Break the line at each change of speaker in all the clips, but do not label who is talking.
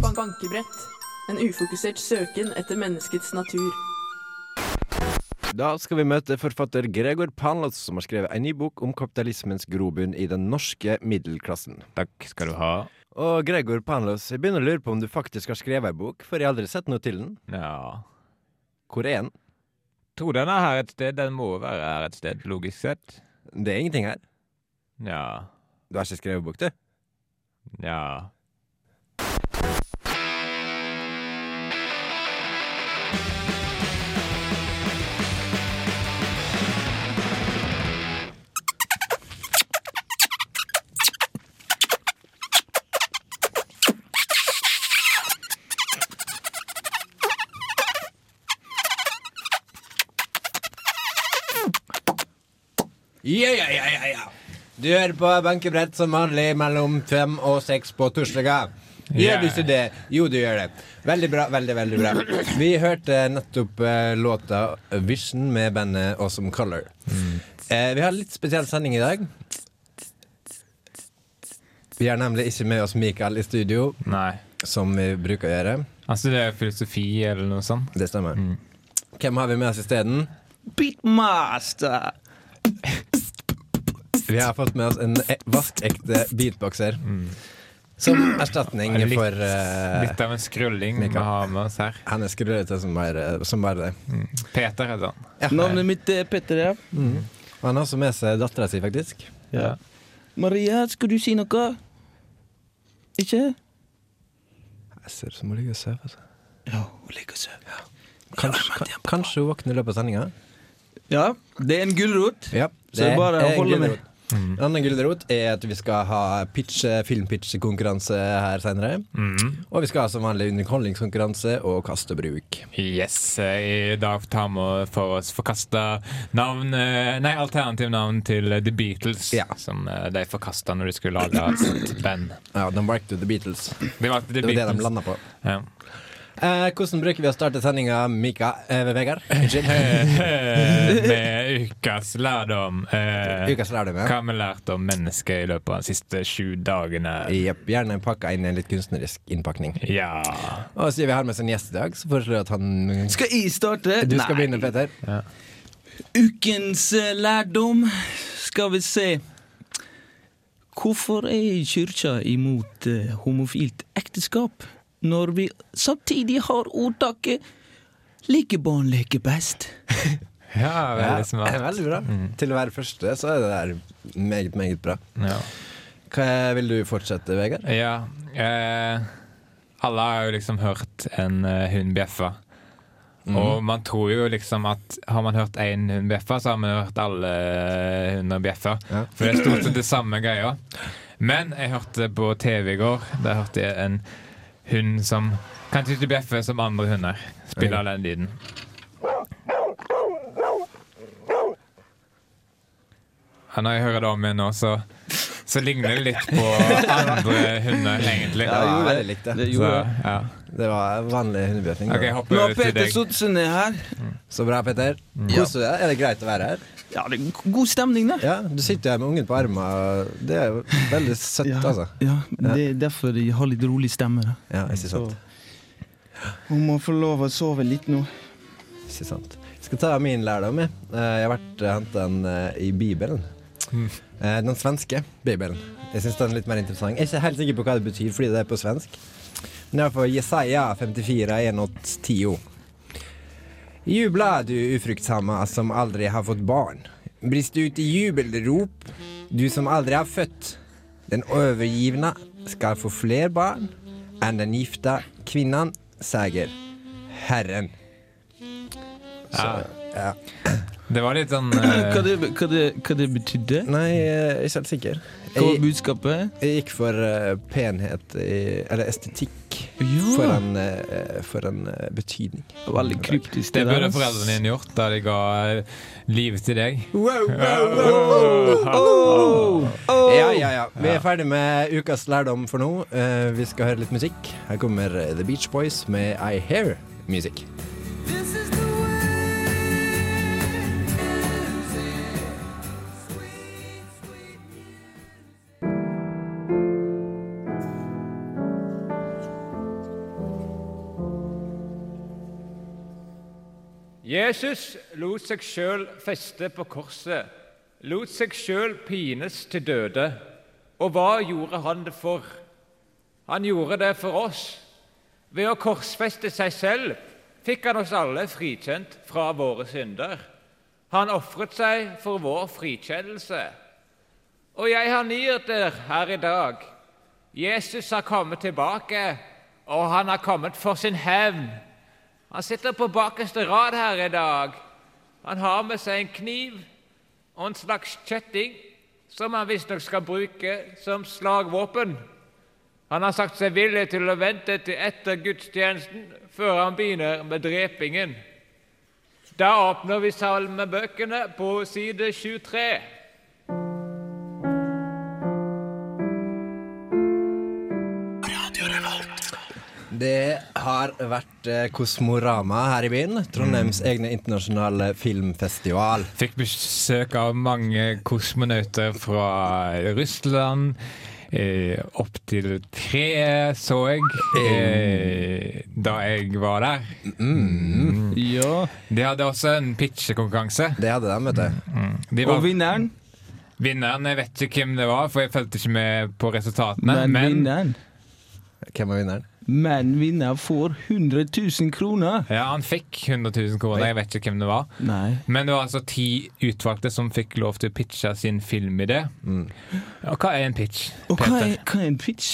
skytebrett. En ufokusert søken etter menneskets natur.
Da skal vi møte forfatter Gregor Panlos, som har skrevet en ny bok om kapitalismens grobunn i den norske middelklassen.
Takk skal du ha.
Og Gregor Panlos, jeg begynner å lure på om du faktisk har skrevet ei bok, for jeg har aldri sett noe til den.
Ja
Hvor er den?
Tror den er her et sted. Den må være her et sted, logisk sett.
Det er ingenting her.
Ja.
Du har ikke skrevet bok, du?
Ja.
Ja, ja, ja, ja, Du hører på benkebrett som vanlig mellom fem og seks på torsdager.
Ja.
Gjør du ikke det? Jo, du gjør det. Veldig bra, veldig, veldig bra. Vi hørte nettopp eh, låta Vision med bandet Awesome Color. Eh, vi har en litt spesiell sending i dag. Vi har nemlig ikke med oss Mikael i studio,
Nei.
som vi bruker å gjøre.
Han studerer Altså, filosofi eller noe sånt.
Det stemmer. Hvem har vi med oss isteden?
Beatmaster!
Vi har fått med oss en e vaskekte beatboxer. Som erstatning
Er det litt-
for eh,
Litt av en skrulling vi
Mikael.
har med oss her.
Han er skrullete som bare, som bare det.
Peter heter han.
Navnet mitt er Petter, ja.
Og han har også med seg dattera si, faktisk.
Ja.
Maria, skal du si noe? Ikke?
Jeg ser ut som hun ligger og sover. altså.
Ja, hun ligger og sover.
Kanskje, kan, kanskje hun våkner i løpet av sendinga.
Ja, det er en gulrot.
Ja,
Så det er bare å
en
holde med.
gulrot. En annen gulrot er at vi skal ha pitch, filmpitch-konkurranse her seinere. Og vi skal ha som vanlig underholdningskonkurranse og kast og bruk.
Yes. eh, I dag tar vi for oss forkasta navn eh, Nei, alternativnavn til eh, The Beatles,
Ja.
som eh, de forkasta når de skulle lage sitt band.
Ja, de worked with the Beatles.
Det var The
Det var det de
Beatles.
landa på.
Ja.
Eh, hvordan bruker vi å starte sendinga, Mika? Eh, Vegard? Unnskyld.
Eh, Med ukas lærdom. eh,
Ukas lærdom,
Hva
ja.
har vi lært om mennesket i løpet av de siste sju dagene?
Jepp. Gjerne pakka inn i en litt kunstnerisk innpakning.
Ja
Og siden vi har med oss en gjest i dag, så foreslår jeg at han
Skal jeg starte?
Du skal begynne, Peter.
Ukens eh, lærdom. Skal vi se. Hvorfor er kyrkja imot eh, homofilt ekteskap når vi samtidig har ordtaket 'likebarn leker best'?
Ja,
Ja,
veldig smart. Mm.
Veldig bra. Til å være første, så er det der meget, meget bra.
Ja.
Hva vil du fortsette, Vegard?
ja eh, alle har jo liksom hørt en eh, hund bjeffe.
Mhm.
Og man tror jo liksom at har man hørt én hund bjeffe, så har man hørt alle eh, hunder bjeffe.
Ja.
For det er stort sett det samme greia. Men jeg hørte på TV i går, der hørte jeg en hund som kanskje ikke bjeffer som andre hunder. Spiller den lyden. Ja, når jeg hører det om igjen nå, så, så ligner det litt på andre hunder, egentlig.
Ja,
jo,
veldig likt det.
så,
gjorde jeg.
ja.
Det var vanlig hundebjøting.
Ok, jeg hopper Mm.
Nå har
over til
Peter
deg.
satt seg ned her.
Så bra, Peter. Koser du deg? Er det greit å være her?
Ja, det er god stemning, det.
Ja, Du sitter jo her med ungen på armen, og det er jo veldig søtt,
Ja,
altså.
ja, det er derfor jeg har litt rolig stemme. Da.
Ja, ikke sant.
Hun må få lov å sove litt nå.
Ikke sant. Jeg skal ta min lærdom. Jeg, Eh, jeg har vært henta den eh, i Bibelen. Eh, Den svenske Bibelen. Jeg syns den er litt mer interessant. Jeg er ikke helt sikker på hva det betyr fordi det er på svensk. Men det er for Jesaja 54, 1-10. Jubla, du ufruktsamma som aldri har fått barn. Brist ut i jubelrop, du som aldri har født. Den overgivne skal få fler barn enn den gifta kvinnen, sier Herren. Ja.
Det var litt sånn
Hva
eh,
det, hva det, hva det betydde?
Nei, eh, jeg er ikke helt sikker.
Hva var
Jeg,
budskapet?
jeg gikk for eh, penhet i, Eller estetikk
Ja.
foran, eh, foran eh, betydning.
Det var Veldig kryptisk.
Det burde
der, ass.
foreldrene dine gjort da de ga eh, livet til deg.
Ja, ja, ja. Vi er ferdig med ukas lærdom for nå. Eh, vi skal høre litt musikk. Her kommer eh, The Beach Boys med I Hear Music.
Jesus lot seg sjøl feste på korset, lot seg sjøl pines til døde. Og hva gjorde han det for? Han gjorde det for oss. Ved å korsfeste seg selv fikk han oss alle frikjent fra våre synder. Han ofret seg for vår frikjennelse. Og jeg har nyheter her i dag. Jesus har kommet tilbake, og han har kommet for sin hevn. Han sitter på bakerste rad her i dag. Han har med seg en kniv og en slags kjetting som han visstnok skal bruke som slagvåpen. Han har sagt seg villig til å vente til etter gudstjenesten før han begynner med drepingen. Da åpner vi salmebøkene på side 23.
Det har vært eh, Kosmorama her i byen.
Mm.
Trondheims egne internasjonale filmfestival.
Fikk besøk av mange kosmonauter fra Russland. Eh, opp til tre så jeg eh, da jeg var der.
Ja.
De hadde også en pitchekonkurranse.
Det hadde de, vet
Mm.
du.
De
Og
var
vinneren?
vinneren. Jeg vet ikke hvem det var, for jeg fulgte ikke med på resultatene.
Men,
Men,
vinneren.
Hvem var vinneren?
Men vinner får 100 000 kroner.
ja, han fikk 100 000 kroner. Jeg vet ikke hvem det var.
Nei.
Men det var altså ti utvalgte som fikk lov til å pitche sin filmidé. Og hva er en pitch?
Mm. Og hva er,
Peter?
hva er en pitch?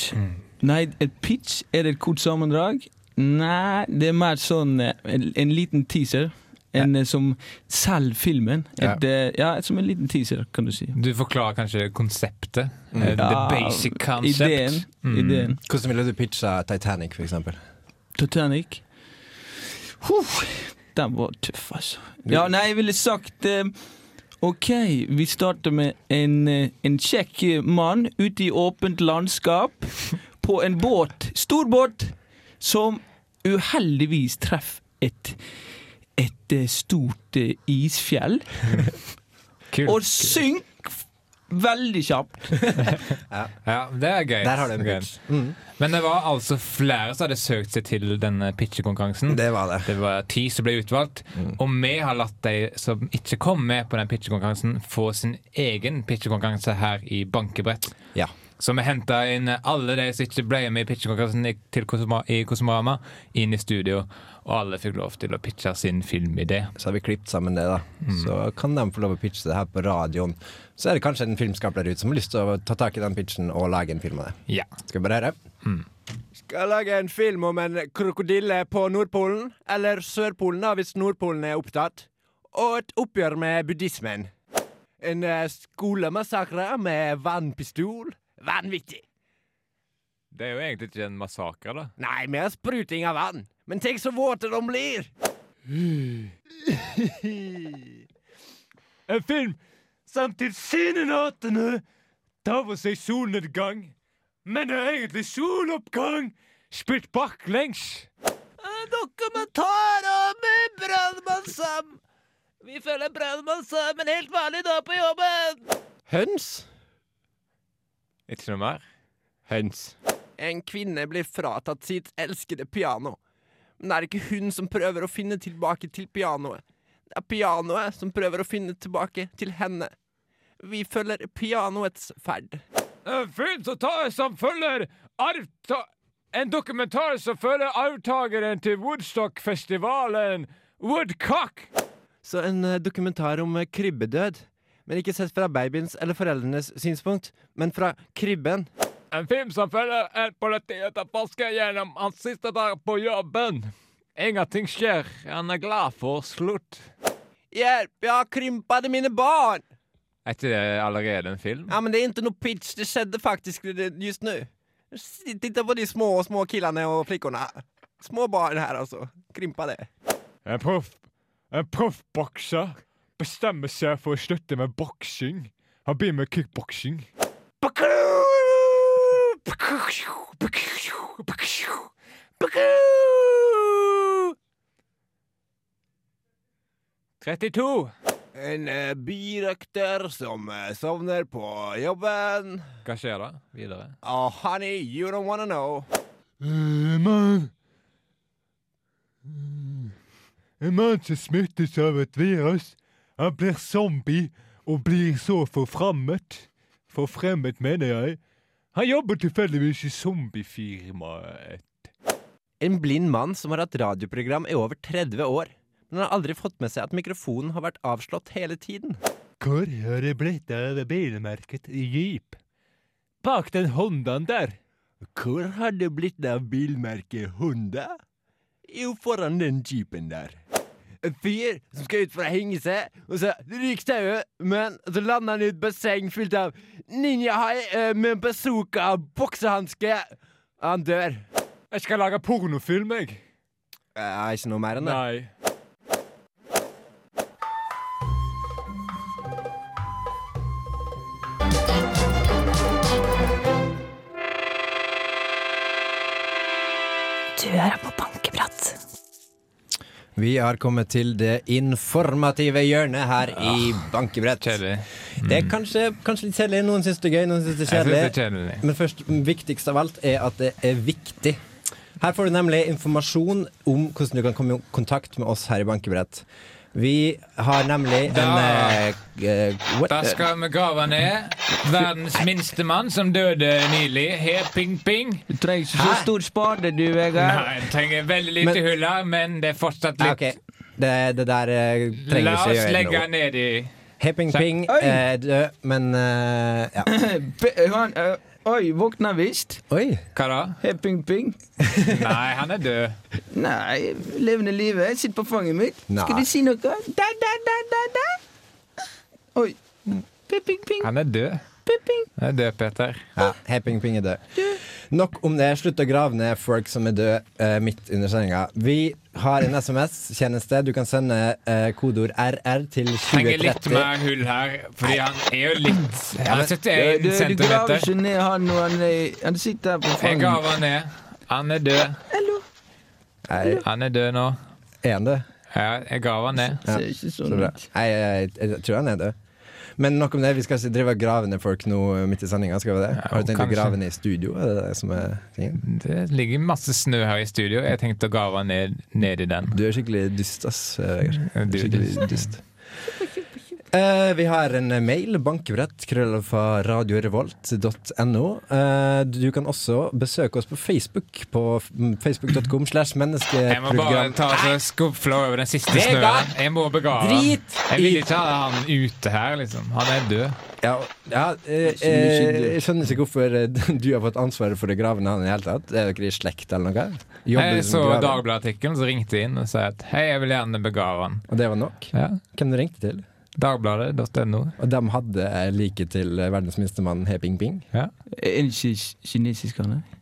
Nei, et pitch er det et kort sammendrag. Nei, det er mer sånn eh, en, en liten teaser. En eh, som selger filmen. Et, eh, ja, som en liten teaser, kan du si.
Du forklarer kanskje konseptet?
Mm.
eh, The
Ja,
basic concept?
Ideen. ideen.
Hvordan ville du pitcha Titanic, for eksempel?
Titanic. Huh, den var tøff, altså. Ja, nei, jeg ville sagt eh, OK, vi starter med en, eh, en kjekk eh, mann ute i åpent landskap på en båt, stor båt, som uheldigvis treffer et, et eh, stort eh, isfjell,
Kult.
og synker f- veldig kjapt.
Ja, det er gøy.
Der har du en
Gøy.
pitch. Mm,
Men det var altså flere som hadde søkt seg til denne pitchekonkurransen.
det Mm. var det.
Det var ti som ble utvalgt, og vi har latt de som ikke kom med på den pitchekonkurransen, få sin egen pitchekonkurranse her i Bankebrett.
Ja.
Så vi henta inn alle de som ikke ble med i pitchekonkurransen i- til Kosma- i Kosmorama, inn i studio. Og alle fikk lov til å pitche sin filmidé.
Så har vi klippet sammen det, da. Så kan de få lov å pitche det her på radioen. Så er det kanskje en filmskaper der ute som har lyst til å ta tak i den pitchen og lage en film av det.
Ja.
Skal vi bare høre? Skal lage en film om en krokodille på Nordpolen, eller Sørpolen da, hvis Nordpolen er opptatt, og et oppgjør med buddhismen. En eh, skolemassakre med vannpistol. Vanvittig.
Det er jo egentlig ikke en massakre, da.
Nei, mer spruting av vann. Men tenk så våte de blir!
En film som tilsynelatende tar for seg solnedgang, men det er egentlig soloppgang spilt baklengs. Dokumentarer med Brannmann Sam. Vi følger Brannmann Sam en helt vanlig dag på jobben.
Høns?
Ikke noe mer?
Høns. En kvinne blir fratatt sitt elskede piano. Men det er ikke hun som prøver å finne tilbake til pianoet. Det er pianoet som prøver å finne tilbake til henne. Vi følger pianoets ferd.
En film som, tar, som følger arvta... En dokumentar som følger arvtakeren til Woodstock-festivalen Woodcock.
Så en eh, dokumentar om eh, krybbedød. Men ikke sett fra babyens eller foreldrenes synspunkt, men fra krybben.
En film som følger en politietterforsker gjennom hans siste dag på jobben. Ingenting skjer. Han er glad for slutt.
Hjelp, jeg har krympa det mine barn!
Er ikke det allerede en film?
Ja, men det er ikke noe pitch, det skjedde faktisk just nå. Titta på de små, små killene og flikkene. Små barn her, altså. Krympa det.
En proff En proffbokser bestemmer seg for å slutte med boksing. Han begynner med kickboksing.
En eh, birøkter som eh, sovner på jobben.
Hva skjer da? Videre?
Oh, honey, you don't wanna know.
Uh, man.
En mann som smittes av et virus. Han blir zombie og blir så forfremmet. Forfremmet, mener jeg. Han jobber tilfeldigvis i zombiefirmaet.
En blind mann som har hatt radioprogram i over 30 år. Men han har aldri fått med seg at mikrofonen har vært avslått hele tiden.
Hvor har det blitt av bilmerket Jeep? Bak den Hondaen der.
Hvor har det blitt av bilmerket Honda? Jo, foran den jeepen der. En fyr som skal ut for å henge seg, og så ryker tauet, men så lander han i et basseng fylt av ninjahai eh, med en bazooka og boksehanske. Han dør.
Jeg skal lage pornofilm, jeg.
Eh, ikke noe mer enn det.
Nei.
Du hører på Bankeprat.
Vi har kommet til det informative hjørnet her i Bankebrett.
Ah, Kjedelig. Mm.
Det er kanskje, kanskje litt kjedelig. Noen syns det er gøy, noen syns det er
Jeg synes
kjedelig.
det er kjedelig.
Men først, viktigst av alt er at det er viktig. Her får du nemlig informasjon om hvordan du kan komme i kontakt med oss her i Bankebrett. Vi har nemlig en
Da-
eh, eh, what-
Da skal vi grave ned verdens minste mann som døde nylig. He Ping Ping.
Du trenger ikke så
Hæ?
stor spade, du, Vegard.
Nei, jeg trenger veldig lite
Men-
hull her, men det er fortsatt
Ah,
litt.
ok. det, det der eh, trenger
La
vi
oss
ikke gjøre
legge
noe.
ned i
Hepping Ping
Oi!
er død, men eh, ja.
P- Han, ø, oi, våkna visst.
Oi!
Hva da?
Hepping-ping.
Nei, han er død.
Nei, levende livet. Sitt på fanget mitt.
Nei.
Skal du si noe? Da, da, da, da, da. Oi. Ping-ping.
Han er død.
Ping-ping.
Han er død, Peter.
Ja, Hepping Ping er død. Nok om det. Slutt å grave ned folk som er døde eh, midt under sendinga. Vi har en SMS-tjeneste. Du kan sende eh, kodeord RR til
Trenger litt
2030.
mer hull her, fordi han er jo litt Han
eh. men-
er
Du, du,
71
du
centimeter.
graver ikke ned han når han, er- han sitter her på
Jeg
fanget.
graver ned. Han er død.
Nei,
Han er død nå.
er han det?
Ja, jeg graver ned.
Ser ikke
Så
sånn
bra.
ut.
Nei, jeg, jeg, jeg tror han er død. Men nok om det. Vi skal ikke drive og grave ned folk nå eh, midt i sendinga. Skal vi det? Har du tenkt å
kanskje.
grave ned i studio? Er det det som er tingen?
Det ligger masse snø her i studio. Jeg tenkte å grave ned, ned i den.
Du er skikkelig dust, ass. Vegard.
Du er
Skikkelig dust. Eh, vi har en mail, bankebrett, krøllalfa radiorevolt.no. Eh, du kan også besøke oss på Facebook, på f- facebook.com slash
Jeg må bare
menneskeprogram.
ta og skufle over den siste
Vegard!
snøen. Jeg må begrave han.
Drit
Jeg vil
i-
ikke ha han ute her, liksom. Han er død.
Ja, ja eh,
Så mye
eh, jeg skjønner ikke hvorfor eh, du har fått ansvaret for å grave ned han i det hele tatt. Er dere i slekt eller noe? Jobber liksom
Jeg
du
så
som graver?
Dagbladet-artikkelen, så ringte jeg inn og sa at hei, jeg vil gjerne begrave han.
Og det var nok?
Ja.
Hvem du ringte til?
Dagbladet.no.
Og de hadde eh, like til eh, verdens minstemann He Ping Ping.
Er han ikke kinesisk, han? er?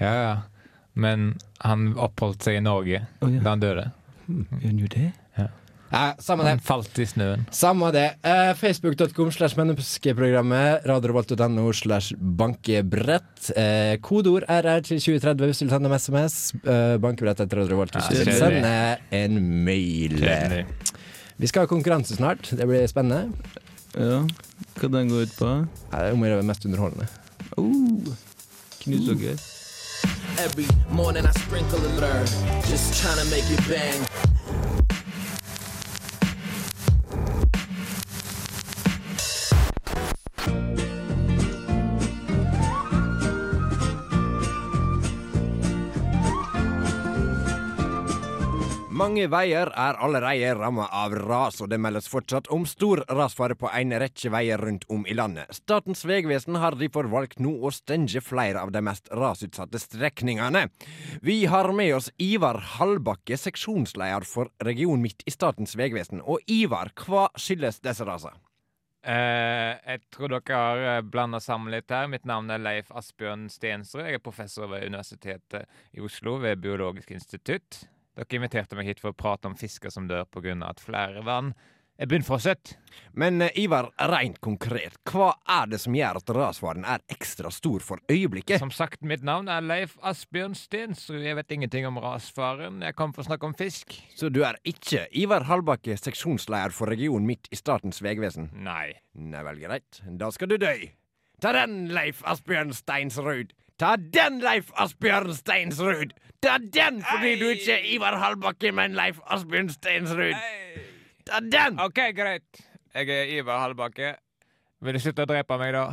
Ja, ja. Men han oppholdt seg i Norge
Å, ja.
da han døde.
Gjør han jo det?
Ja, samme det.
Han falt i snøen.
Samme det. Eh, Facebook.com slash menneskeprogrammet. Radiorevolt.no slash bankebrett. Eh, kodeord RR til 2030 hvis du vil sende en SMS. Eh, bankebrett etter Radiorevolt hvis du
Ja,
vil
kjedelig.
sende en mail. Vi skal ha konkurranse snart. Det blir spennende.
Ja. Hva den går ut på?
Ja, Det er om å gjøre det mest underholdende.
Oh. Knus dere.
Every morning I sprinkle and learn, just tryna make it bang.
Mange veier er allerede ramma av ras, og det meldes fortsatt om stor rasfare på en rekke veier rundt om i landet. Statens vegvesen har derfor valgt nå å stenge flere av de mest rasutsatte strekningene. Vi har med oss Ivar Hallbakke, seksjonsleder for Region Midt i Statens vegvesen. Og Ivar, hva skyldes disse rasene?
Eh, jeg tror dere har blanda sammen litt her. Mitt navn er Leif Asbjørn Stensrud. Jeg er professor ved Universitetet i Oslo ved Biologisk institutt. Dere inviterte meg hit for å prate om fisker som dør pga. at flere vann er bunnfrosset.
Men eh, Ivar, rent konkret, hva er det som gjør at rasfaren er ekstra stor for øyeblikket?
Som sagt, mitt navn er Leif Asbjørn Stensrud. Jeg vet ingenting om rasfaren. Jeg kom for å snakke om fisk.
Så du er ikke Ivar Hallbakke, seksjonsleder for Region Midt i Statens vegvesen?
Nei.
Nei vel, greit. Da skal du dø. Ta den, Leif Asbjørn Steinsrud.
Ta den, Leif Asbjørn Steinsrud! Ta den fordi du ikke er Ivar Hallbakke, men Leif Asbjørn Steinsrud! Ta den!
OK, greit. Jeg er Ivar Hallbakke. Vil du slutte å drepe meg, da?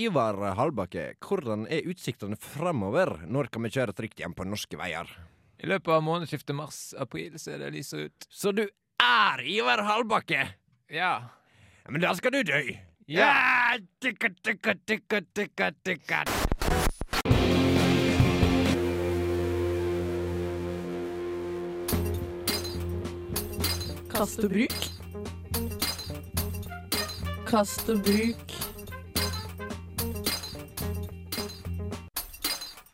Ivar Hallbakke, hvordan er utsiktene framover? Når kan vi kjøre trygt igjen på norske veier?
I løpet av månedsskiftet mars-april så er det lyser ut.
Så du er Ivar Hallbakke?
Ja.
Ja, Men da skal du dø!
Ja.
Ah, tikka, tikka, tikka, tikka, tikka.
Kast og bruk. Kast og bruk.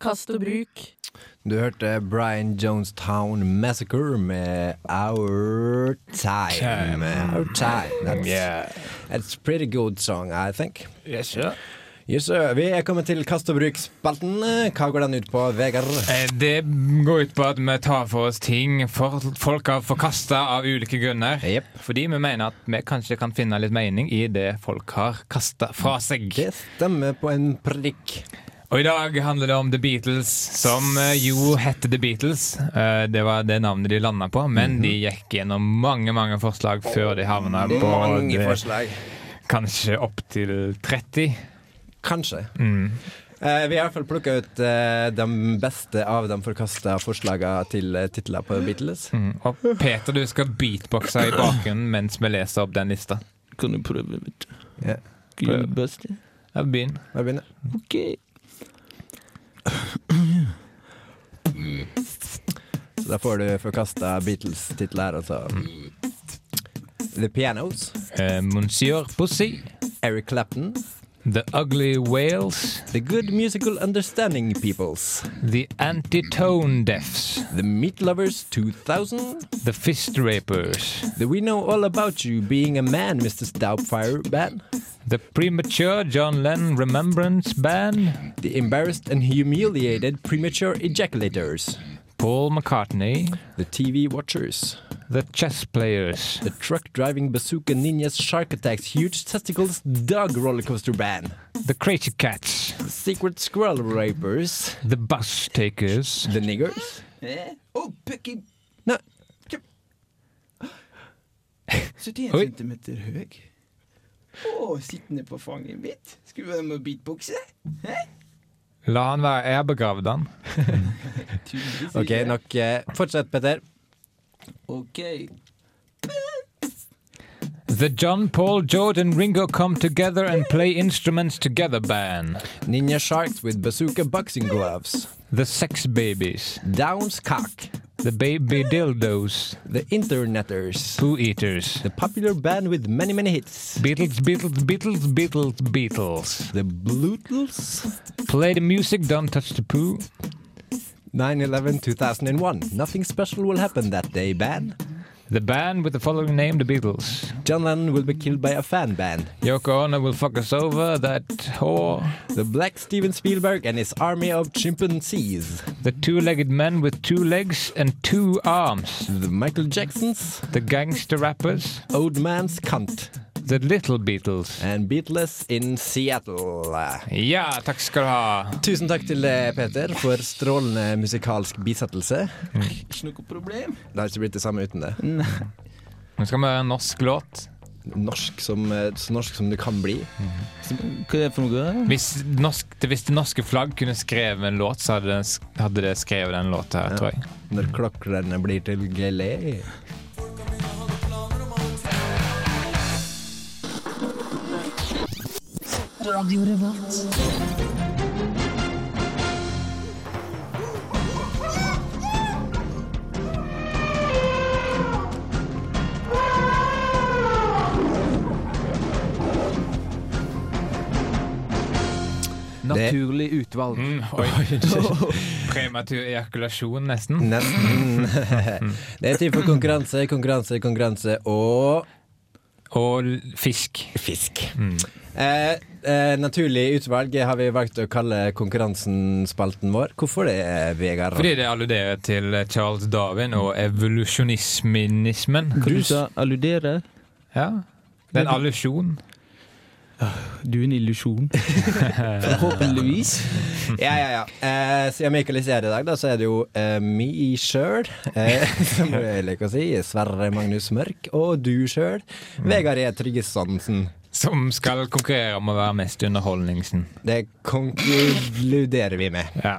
Kast og bruk.
Du hørte Brian Jonestown Massacre med Our Time. Our Time. That's, that's a pretty good song, I think.
Yes, sir.
Yes, sir. Vi er kommet til Kast og bruk-spalten. Hva går den ut på, Vegard?
Eh, Det går ut på at vi tar for oss ting for folk har forkasta av ulike grunner.
Jep.
Fordi vi mener at vi kanskje kan finne litt mening i det folk har kasta fra seg.
Det stemmer på en prikk.
Og i dag handler det om The Beatles, som eh, jo hette The Beatles. Eh, Det var det navnet de landa på, men
Mhm.
de gikk gjennom mange mange forslag før de havna på
Mange
det,
forslag.
kanskje opptil 30.
Kanskje. Eh, vi har i hvert fall plukka ut eh, de beste av de forkasta forslaga til eh, titler på Beatles.
Mm. Og Peter, du skal beatboxe i bakgrunnen mens vi leser opp den lista.
Kan du prøve, vet du?
Ja.
Kan du gjøre det beste?
Ja, Begynn.
Da begynner jeg.
Ok.
Så da får du forkasta Beatles-titler her, altså. The Pianos,
Eh, Monsieur Pussy,
Eric Clapton,
The Ugly Whales,
The Good Musical Understanding Peoples,
The Antitone Deaths,
The Meat Lovers 2000,
The Fist Rapers,
The We Know All About You Being a Man, Mr. Stoutfire Band,
The Premature John Lennon Remembrance Band,
The Embarrassed and Humiliated Premature Ejaculators,
Paul McCartney,
The TV Watchers.
The Chess Players.
The truck driving bazooka ninjas shark attacks huge testicles dog rollercoaster band.
The Crazy Cats,
The secret squirrel rapers.
The Bus Takers,
The niggers.
Oh, Pukki
Nei.
71
Oi.
centimeter høy. Å, sittende på fanget mitt. Skulle være med å beatboxe.
La han være, jeg begravde han.
Tydeligvis
Ok,
ikke.
nok. eh, Fortsett, Petter.
Ok.
The John, Paul, George and Ringo Come Together and Play Instruments Together Band.
Ninja sharks with bazooka boxing gloves.
The Sex Babies,
Downs cock.
The Baby Dildos,
The interneters.
Poo Eaters,
The popular band with many many hits.
Beatles, Beatles, Beatles, Beatles, Beatles.
The Bluetooth.
Play the music, don't touch the poo.
9-11-2001. Nothing special will happen that day, band.
The band with the following name, The Beatles.
John Lennon will be killed by a fan band.
Yoko Ono will fuck us over, that whore.
The Black Steven Spielberg and his army of chimpanzees.
The two-legged men with two legs and two arms.
The Michael Jacksons,
The gangster rappers.
Old Man's Cunt
The Little Beatles.
and Beatles in Seattle. Eh,
Ja, takk skal du ha.
Tusen takk til eh, Peter for strålende musikalsk bisettelse.
Ikke noe problem.
Det har ikke blitt det samme uten det.
Nå skal vi ha en norsk låt.
Norsk som, eh, så norsk som du kan bli.
Hva er det for noe?
Hvis, norsk, hvis det norske flagg kunne skrevet en låt, så hadde det, hadde det skrevet den låta her, tror jeg.
Når klokkerne blir til gelé.
Naturlig utvalg.
Mm, oi. Prematur ejakulasjon, nesten.
Nesten. Det er tid for konkurranse, konkurranse, konkurranse og
Og l- fisk.
fisk. Eh, eh, naturlig utvalg har vi valgt å kalle konkurransen-spalten vår. Hvorfor det, Vegard?
Fordi det alluderer til Charles Darwin og evolusjonisminismen.
Kan du sa alludere?
Ja. Det er en allusjon.
Du er en illusjon. Forhåpentligvis.
Ja, ja, ja. Eh, siden Michael ikke er her i dag, da, så er det jo eh, me sjøl, eh, som jeg liker å si. Sverre Magnus Mørk. Og du sjøl,
Mm.
Vegard E. Tryggesonsen.
Som skal konkurrere om å være mest underholdningsen.
Det konkluderer vi med.
Ja.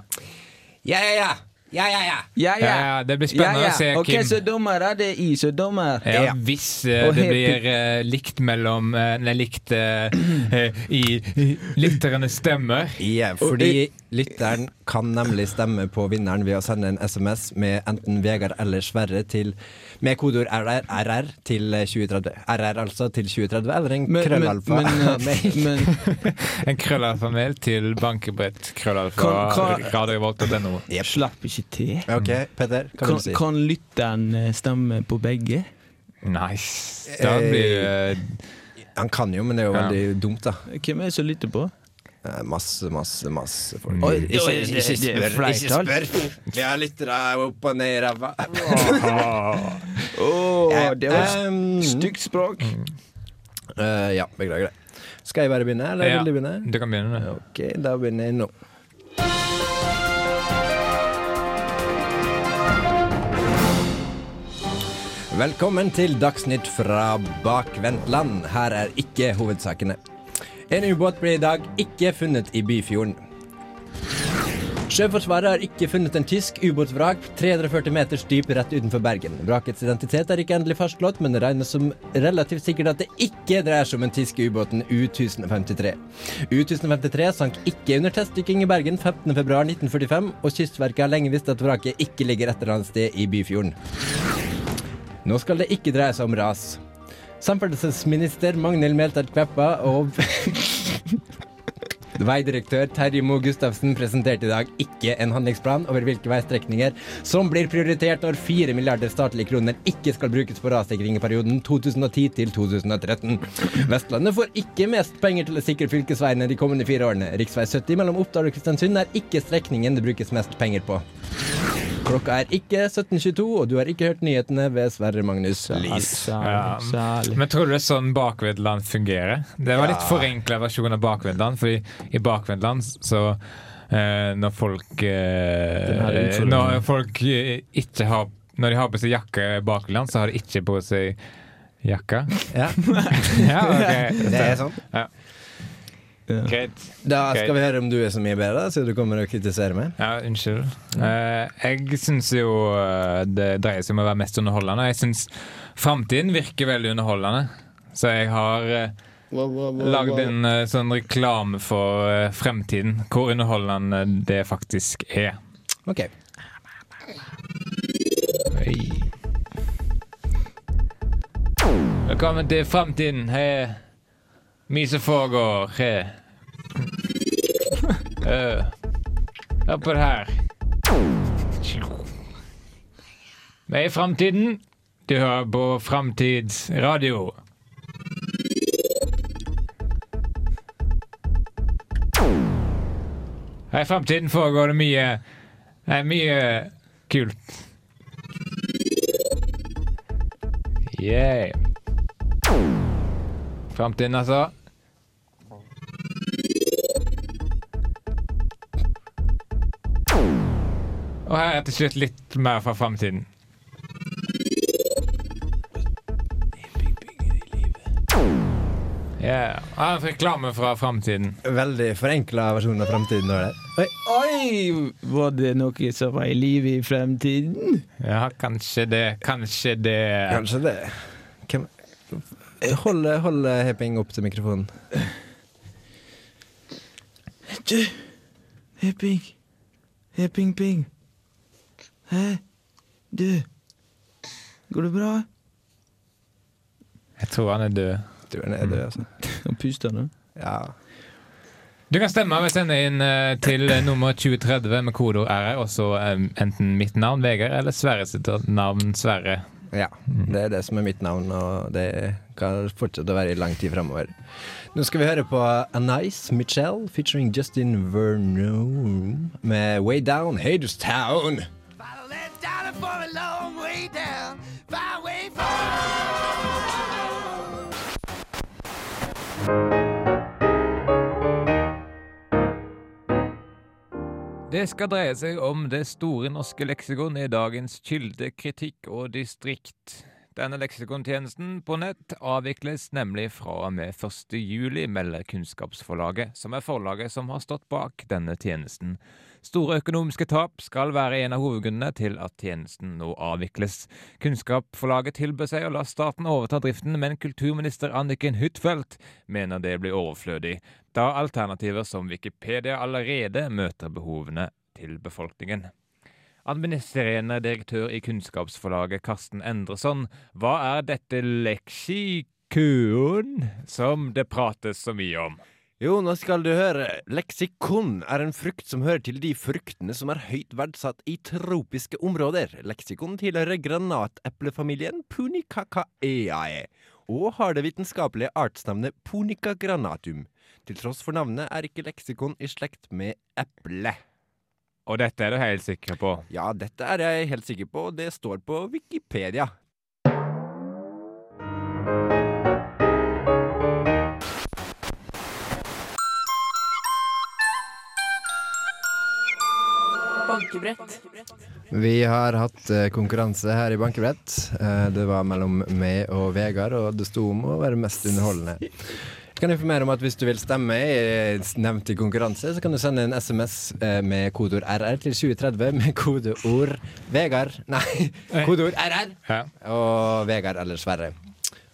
Ja, ja, ja! Ja, ja, ja!
Ja, ja.
Ja, det blir spennende å se,
Ok,
Kim.
så dommer er det i, så dommer.
Ja,
Ja.
Hvis eh,
Og
det
helt-
blir eh, likt mellom eh, Nei, likt eh, eh, i, i lytternes stemmer.
Ja, fordi
eh,
lytteren kan nemlig stemme på vinneren ved å sende en SMS med enten Vegard eller Sverre til med kodeord RR, RR til eh, 2030. RR altså til 2030, eller en
Men-
krøllalfa.
Men, men,
Nei.
eh, men
En krøllalfamil til bankebrett
Kan- kan-
krøllalfa radiovolt.no.
slapp ikke til.
Ok, Petter, hva
Kan,
vil du si?
kan lytteren eh, stemme på begge?
Nice. Da blir eh,
Han kan jo, men det er jo
Ja.
veldig dumt, da.
Hvem er det som lytter på?
Eh, Masse, masse, masse folk.
Oi, det- det- det- det er flertall.
Vi har lyttere opp og ned i ræva.
Åh, det var et
Um,
stygt språk.
eh, ja, beklager det. Skal jeg bare begynne, eller
ja,
vil du begynne?
Du kan begynne, du.
Ok, da begynner jeg nå. Velkommen til Dagsnytt fra bakvendt land. Her er ikke hovedsakene. En ubåt ble i dag ikke funnet i Byfjorden. Sjøforsvaret har ikke funnet en tysk ubåtvrak 340 meters dyp rett utenfor Bergen. Vrakets identitet er ikke endelig fastslått, men det regnes som relativt sikkert at det ikke dreier seg om den tyske ubåten U-1053. U-1053 sank ikke under testdykking i Bergen 15.2.1945, og Kystverket har lenge visst at vraket ikke ligger et eller annet sted i Byfjorden. Nå skal det ikke dreie seg om ras. Samferdselsminister Magnhild Meltveit Kleppa og Veidirektør Terje Moe Gustavsen presenterte i dag ikke en handlingsplan over hvilke veistrekninger som blir prioritert når 4 milliarder statlige kroner ikke skal brukes på rassikring i perioden 2010 til 2013. Vestlandet får ikke mest penger til å sikre fylkesveiene de kommende fire årene. Riksvei 70 mellom Oppdal og Kristiansund er ikke strekningen det brukes mest penger på. Klokka er ikke 17.22, og du har ikke hørt nyhetene ved Sverre Magnus Lis.
Ja.
Særlig, særlig.
Men tror du det er sånn bakvedland fungerer? Det var litt forenkla versjon av bakvedland, fordi i bakvedland så eh, når folk eh,
utfordringen.
Når folk eh, ikke har Når de har på seg jakke bakvedland, så har de ikke på seg jakka.
Ja,
Ja, ok.
det er sånn.
Greit.
Da
Ok.
skal vi høre om du er så mye bedre, så du kommer og kritiserer meg.
Ja, unnskyld. Eh, jeg syns jo eh, det dreier seg om å være mest underholdende. Jeg syns framtiden virker veldig underholdende. Så jeg har uh, lagd en eh, sånn reklame for eh, fremtiden. Hvor underholdende det faktisk er.
Ok.
Velkommen til fremtiden. Hei. Mye som foregår. Hei. Eh, Hør på det her. Vi er i fremtiden. Du hører på Fremtidsradio. Her i fremtiden foregår det mye Nei, mye kult. Yeah. Fremtiden, altså. Og her er til slutt litt mer fra fremtiden. Yeah. Her er en reklame fra fremtiden.
Veldig forenkla versjon av Framtiden. var det. Oi.
Oi, var det noe som var i live i fremtiden?
Ja, kanskje det. Kanskje det.
Kanskje det. Hvem Hold, hold Heping opp til mikrofonen.
Du, Hepping. Hepping-ping. Hæ? Du. Går det bra?
Jeg tror han er død.
Du er nede, altså.
Han puster nå.
Ja.
Du kan stemme ved å sende inn eh, til eh, nummer 2030 med kodeord RR, og så eh, enten mitt navn, Vegard, eller Sverre sitt navn, Sverre.
ja. Det er det som er mitt navn, og det kan fortsette å være i lang tid framover. Nå skal vi høre på Anais Michelle featuring Justin Vernon med Way Down Hadestown.
Det skal dreie seg om det store norske leksikon i dagens kilde, kritikk og distrikt. Denne leksikontjenesten på nett avvikles nemlig fra og med 1. juli, melder Kunnskapsforlaget, som er forlaget som har stått bak denne tjenesten. Store økonomiske tap skal være en av hovedgrunnene til at tjenesten nå avvikles. Kunnskapsforlaget tilbød seg å la staten overta driften, men kulturminister Anniken Huitfeldt mener det blir overflødig, da alternativer som Wikipedia allerede møter behovene til befolkningen. Administrerende direktør i Kunnskapsforlaget Karsten Endresson, hva er dette leksikon som det prates så mye om?
Jo, nå skal du høre. Leksikon er en frukt som hører til de fruktene som er høyt verdsatt i tropiske områder. Leksikon tilhører granateplefamilien Punicacaeae og har det vitenskapelige artsnavnet Punica granatum. Til tross for navnet er ikke leksikon i slekt med eple.
Og dette er du helt sikker på.
Ja, dette er jeg helt sikker på, og det står på Wikipedia.
Bankebrett.
Vi har hatt eh, konkurranse her i Bankebrett. Eh, Det var mellom meg og Vegard, og det sto om å være mest underholdende. Jeg kan informere om at Hvis du vil stemme i eh, nevnte konkurranse, så kan du sende en SMS eh, med kodeord RR til 2030 med kodeord Vegard Nei, kodeord RR
Ja.
og Vegard eller Sverre.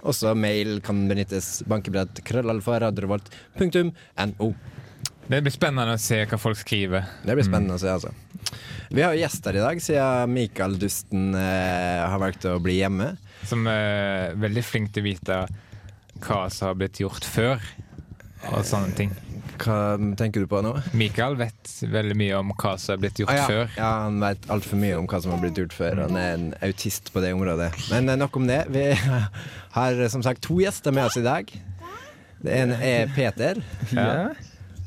Også mail kan benyttes. Bankebrett krøllalfa radiorevolt.no.
Det blir spennende å se hva folk skriver.
Det blir spennende å se, altså. Vi har jo gjester i dag, siden Mikael Dusten eh, har valgt å bli hjemme.
Som er veldig flink til å vite hva som har blitt gjort før, og sånne ting.
Hva tenker du på nå?
Mikael vet veldig mye om hva som er blitt gjort
Ah, ja.
før.
ja, Han vet altfor mye om hva som har blitt gjort før. Han er en autist på det området. Men eh, nok om det. Vi har eh, som sagt to gjester med oss i dag. Det ene er Peter,
Ja.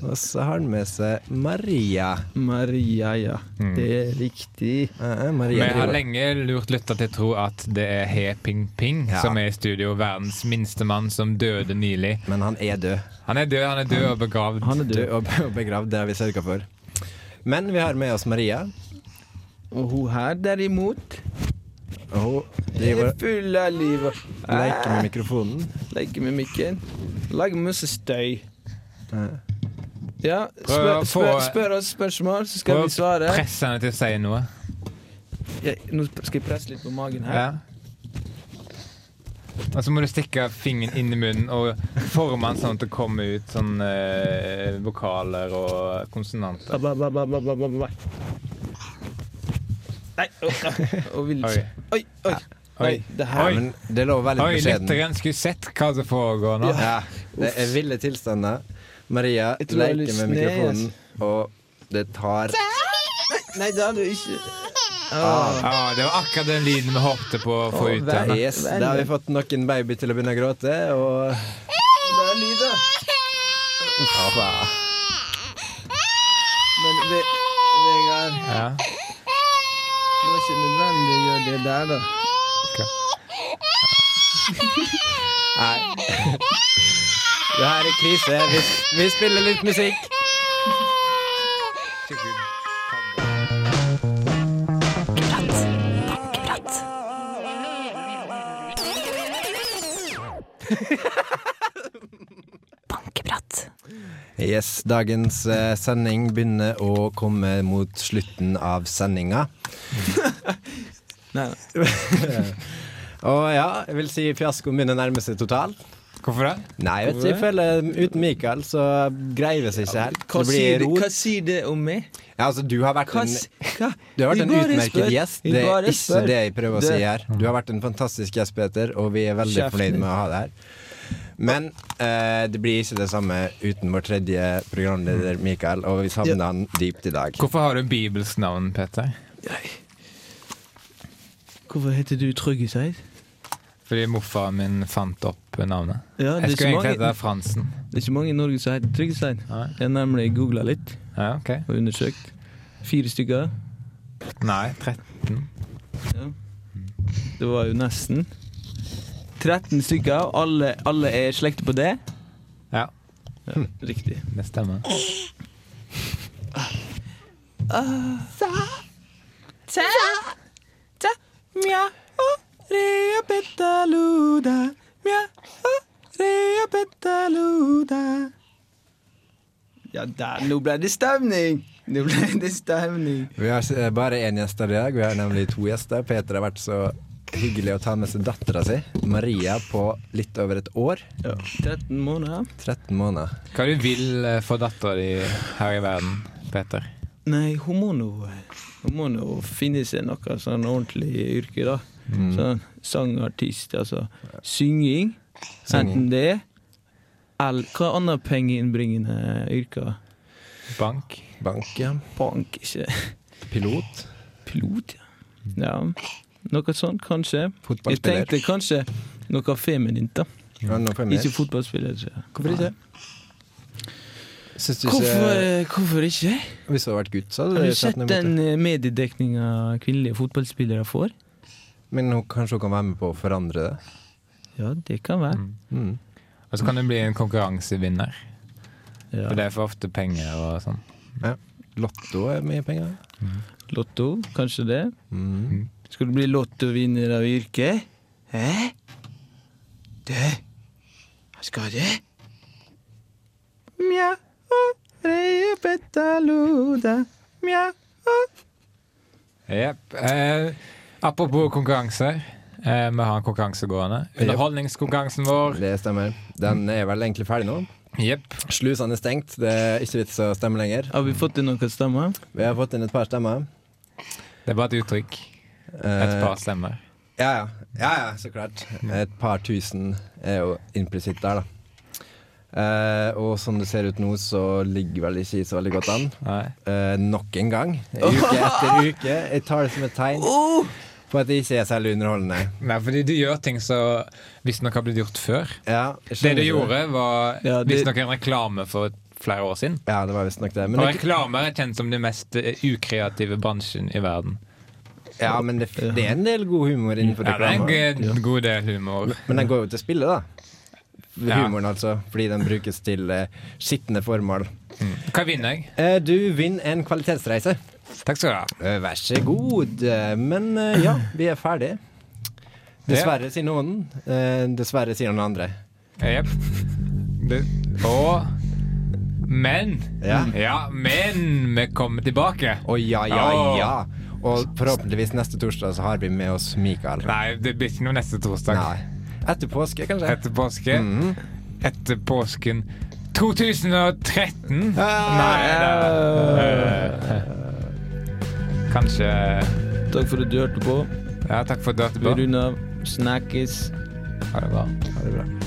og så har han med seg Maria.
Maria, ja. Det er riktig.
Eh, eh, Maria
Vi har
driver-
lenge lurt lytter til å tro at det er He Ping Ping
Ja.
som er i studio, verdens minste mann som døde nylig.
men han er død.
Han er død, han er død og begravd.
Han er
Død
død.
og be- og begravd, det har vi sørga for. Men vi har med oss Maria.
Og hun her, derimot,
Og hun
er
driver
full av liv.
og leker med mikrofonen.
Leker med mikken. Lager masse støy. Ja,
Prøv
spør,
å
spør,
få-
spør oss spørsmål, så skal
Prøv
vi svare.
press henne til å si noe.
Jeg, nå skal jeg presse litt på magen her.
Ja. Og så må du stikke fingeren inn i munnen og forme den sånn at det kommer ut sånn eh, vokaler og konsonanter.
Ba, ba, ba, ba, ba, ba, ba. Nei, å, å, vil
Oi.
ikke. Oi, oi. Nei,
Oi.
det
Ja,
her
men det lå veldig
Oi,
beskjeden.
lytteren skulle sett hva som foregår nå.
Ja, det er ville tilstander. Maria
Jeg tror jeg
leker med
lyst ned,
mikrofonen, og det tar
Nei, det hadde du ikke.
av.
Ja, det var akkurat den lyden vi håpte på å få
Å,
ut.
vær-
Anna.
Yes, da har vi fått nok en baby til å begynne å gråte, og
Det er lyd, da. Men Ve- Vegard,
Ja.
det var ikke nødvendig å gjøre det der, da.
Nei. Det her er krise. Vi, vi spiller litt musikk.
Bankeprat.
Yes, dagens eh, sending begynner å komme mot slutten av sendinga.
Nei,
Og ja, jeg vil si fiaskoen begynner å nærme seg totalt.
Hvorfor det?
Nei, jeg vet ikke, jeg føler uten Mikael så greier vi seg ikke helt.
Hva,
Det
sier
blir
det,
rot.
hva sier det om meg?
Ja, altså, du har vært
Hva,
en
s- hva?
Du har vært
Vi
en
bare
utmerket
spør.
gjest.
Vi
Det er
bare
ikke
spør.
det jeg prøver å
Det-
si her. Du har vært en fantastisk gjest, Peter, og vi er veldig
Kjeften
fornøyd
din.
med å ha deg her. Men eh, det blir ikke det samme uten vår tredje programleder, Mikael, og vi savner han dypt i dag.
Hvorfor har du Bibels navn, Peter?
Hvorfor heter du Tryggeseid?
Fordi morfaren min fant opp navnet.
Ja,
Jeg
det
skulle
er, ikke
egentlig
mange,
hete Fransen.
det er ikke mange i Norge som heter Tryggeseid.
Nei.
Jeg har nemlig googla litt
Ja, ok.
og undersøkt. Fire stykker.
Nei, 13.
Det var jo nesten. 13 stykker, og alle, alle er i slekt på det.
Ja,
Riktig.
det stemmer.
Ja, der, nå ble det stemning! Nå ble det stemning.
Vi har eh, bare én gjest her i dag. Vi har nemlig to gjester. Peter har vært så hyggelig å ta med seg dattera si, Maria, på litt over et år.
13 måneder?
13 måneder.
Hva du vil eh, for dattera di her i verden, Peter?
Nei, hun må nå Hun må nå finne seg noe sånn ordentlig yrke, da.
Mm.
Sånn sangartist, altså. Synging, enten det eller hva annet pengeinnbringende yrker?
Bank?
Bank, ja.
Bank, ikke
Pilot.
Pilot, ja. ja. Noe sånt, kanskje. Jeg
Fotballspiller.
tenkte kanskje noe feminint, da.
Ja, nå får jeg mer.
Ikke fotballspiller. tror jeg.
Hvorfor ikke? Syns du
Hvorfor, eh,
ikke
hvorfor ikke?
Hvis du hadde vært gutt, så hadde
Har
du
du
sett
sett
noe imot det.
den eh, mediedekninga kvinnelige fotballspillere får?
Men hun, kanskje hun kan være med på å forandre det?
Ja, det kan være.
Mm.
Og så kan du bli en konkurransevinner.
Ja.
For det er for ofte penger og sånn.
Lotto er mye penger.
Lotto, kanskje det.
Mm.
Skal du bli lottovinner av yrket? Hæ? Det Skal det? Mja, å, reie petaloda, mja.
Jepp. Eh, apropos konkurranser. Eh, vi har en konkurranse gående. Underholdningskonkurransen vår.
Det stemmer. Den er vel egentlig ferdig nå.
Jepp.
Slusene er stengt, det er ikke vits å stemme lenger.
Har vi fått inn noen stemmer?
Vi har fått inn et par stemmer.
Det er bare et uttrykk. Et
Eh,
par stemmer.
Ja ja. ja, ja, så klart. Et par tusen er jo implisitt der, da. Eh, og som det ser ut nå, så ligger vel ikke så veldig godt an.
Nei.
Eh, nok en gang. Uke etter uke. Jeg tar det som et tegn på at det ikke er særlig underholdende.
Nei, fordi du gjør ting som visstnok har blitt gjort før.
Ja, jeg
Det
skjønner
du
ikke
gjorde, var
Ja, det-
visstnok en reklame for flere år siden.
Ja, det var visstnok det. Men
Og
det,
reklamer er kjent som den mest eh, ukreative bransjen i verden.
ja, men det, det er en del god humor innenfor
Ja, det er en
reklame.
g- god del humor.
Men den går jo til spillet, da.
Ja.
Humoren, altså. Fordi den brukes til eh, skitne formål.
Hva vinner jeg?
Eh, du vinner en kvalitetsreise.
Takk skal du ha.
Eh, vær så god. Eh, men eh, ja, vi er ferdig. Dessverre, sier noen. Eh, dessverre, sier noen andre.
Jepp. Det- Og Men.
Ja.
Ja, men vi kommer tilbake.
Å ja, ja,
Åh.
ja. Og forhåpentligvis neste torsdag så har vi med oss Mikael.
Nei, det blir ikke noe neste torsdag.
Nei. Etter påske, kanskje. Mhm.
Etter påske. Etter påsken 2013. Nei da. Kanskje
Takk for at du hørte på.
Ja, takk for at du
Vi
hørte på.
runder av. Snakkes.
Ha det bra.
Ha det bra.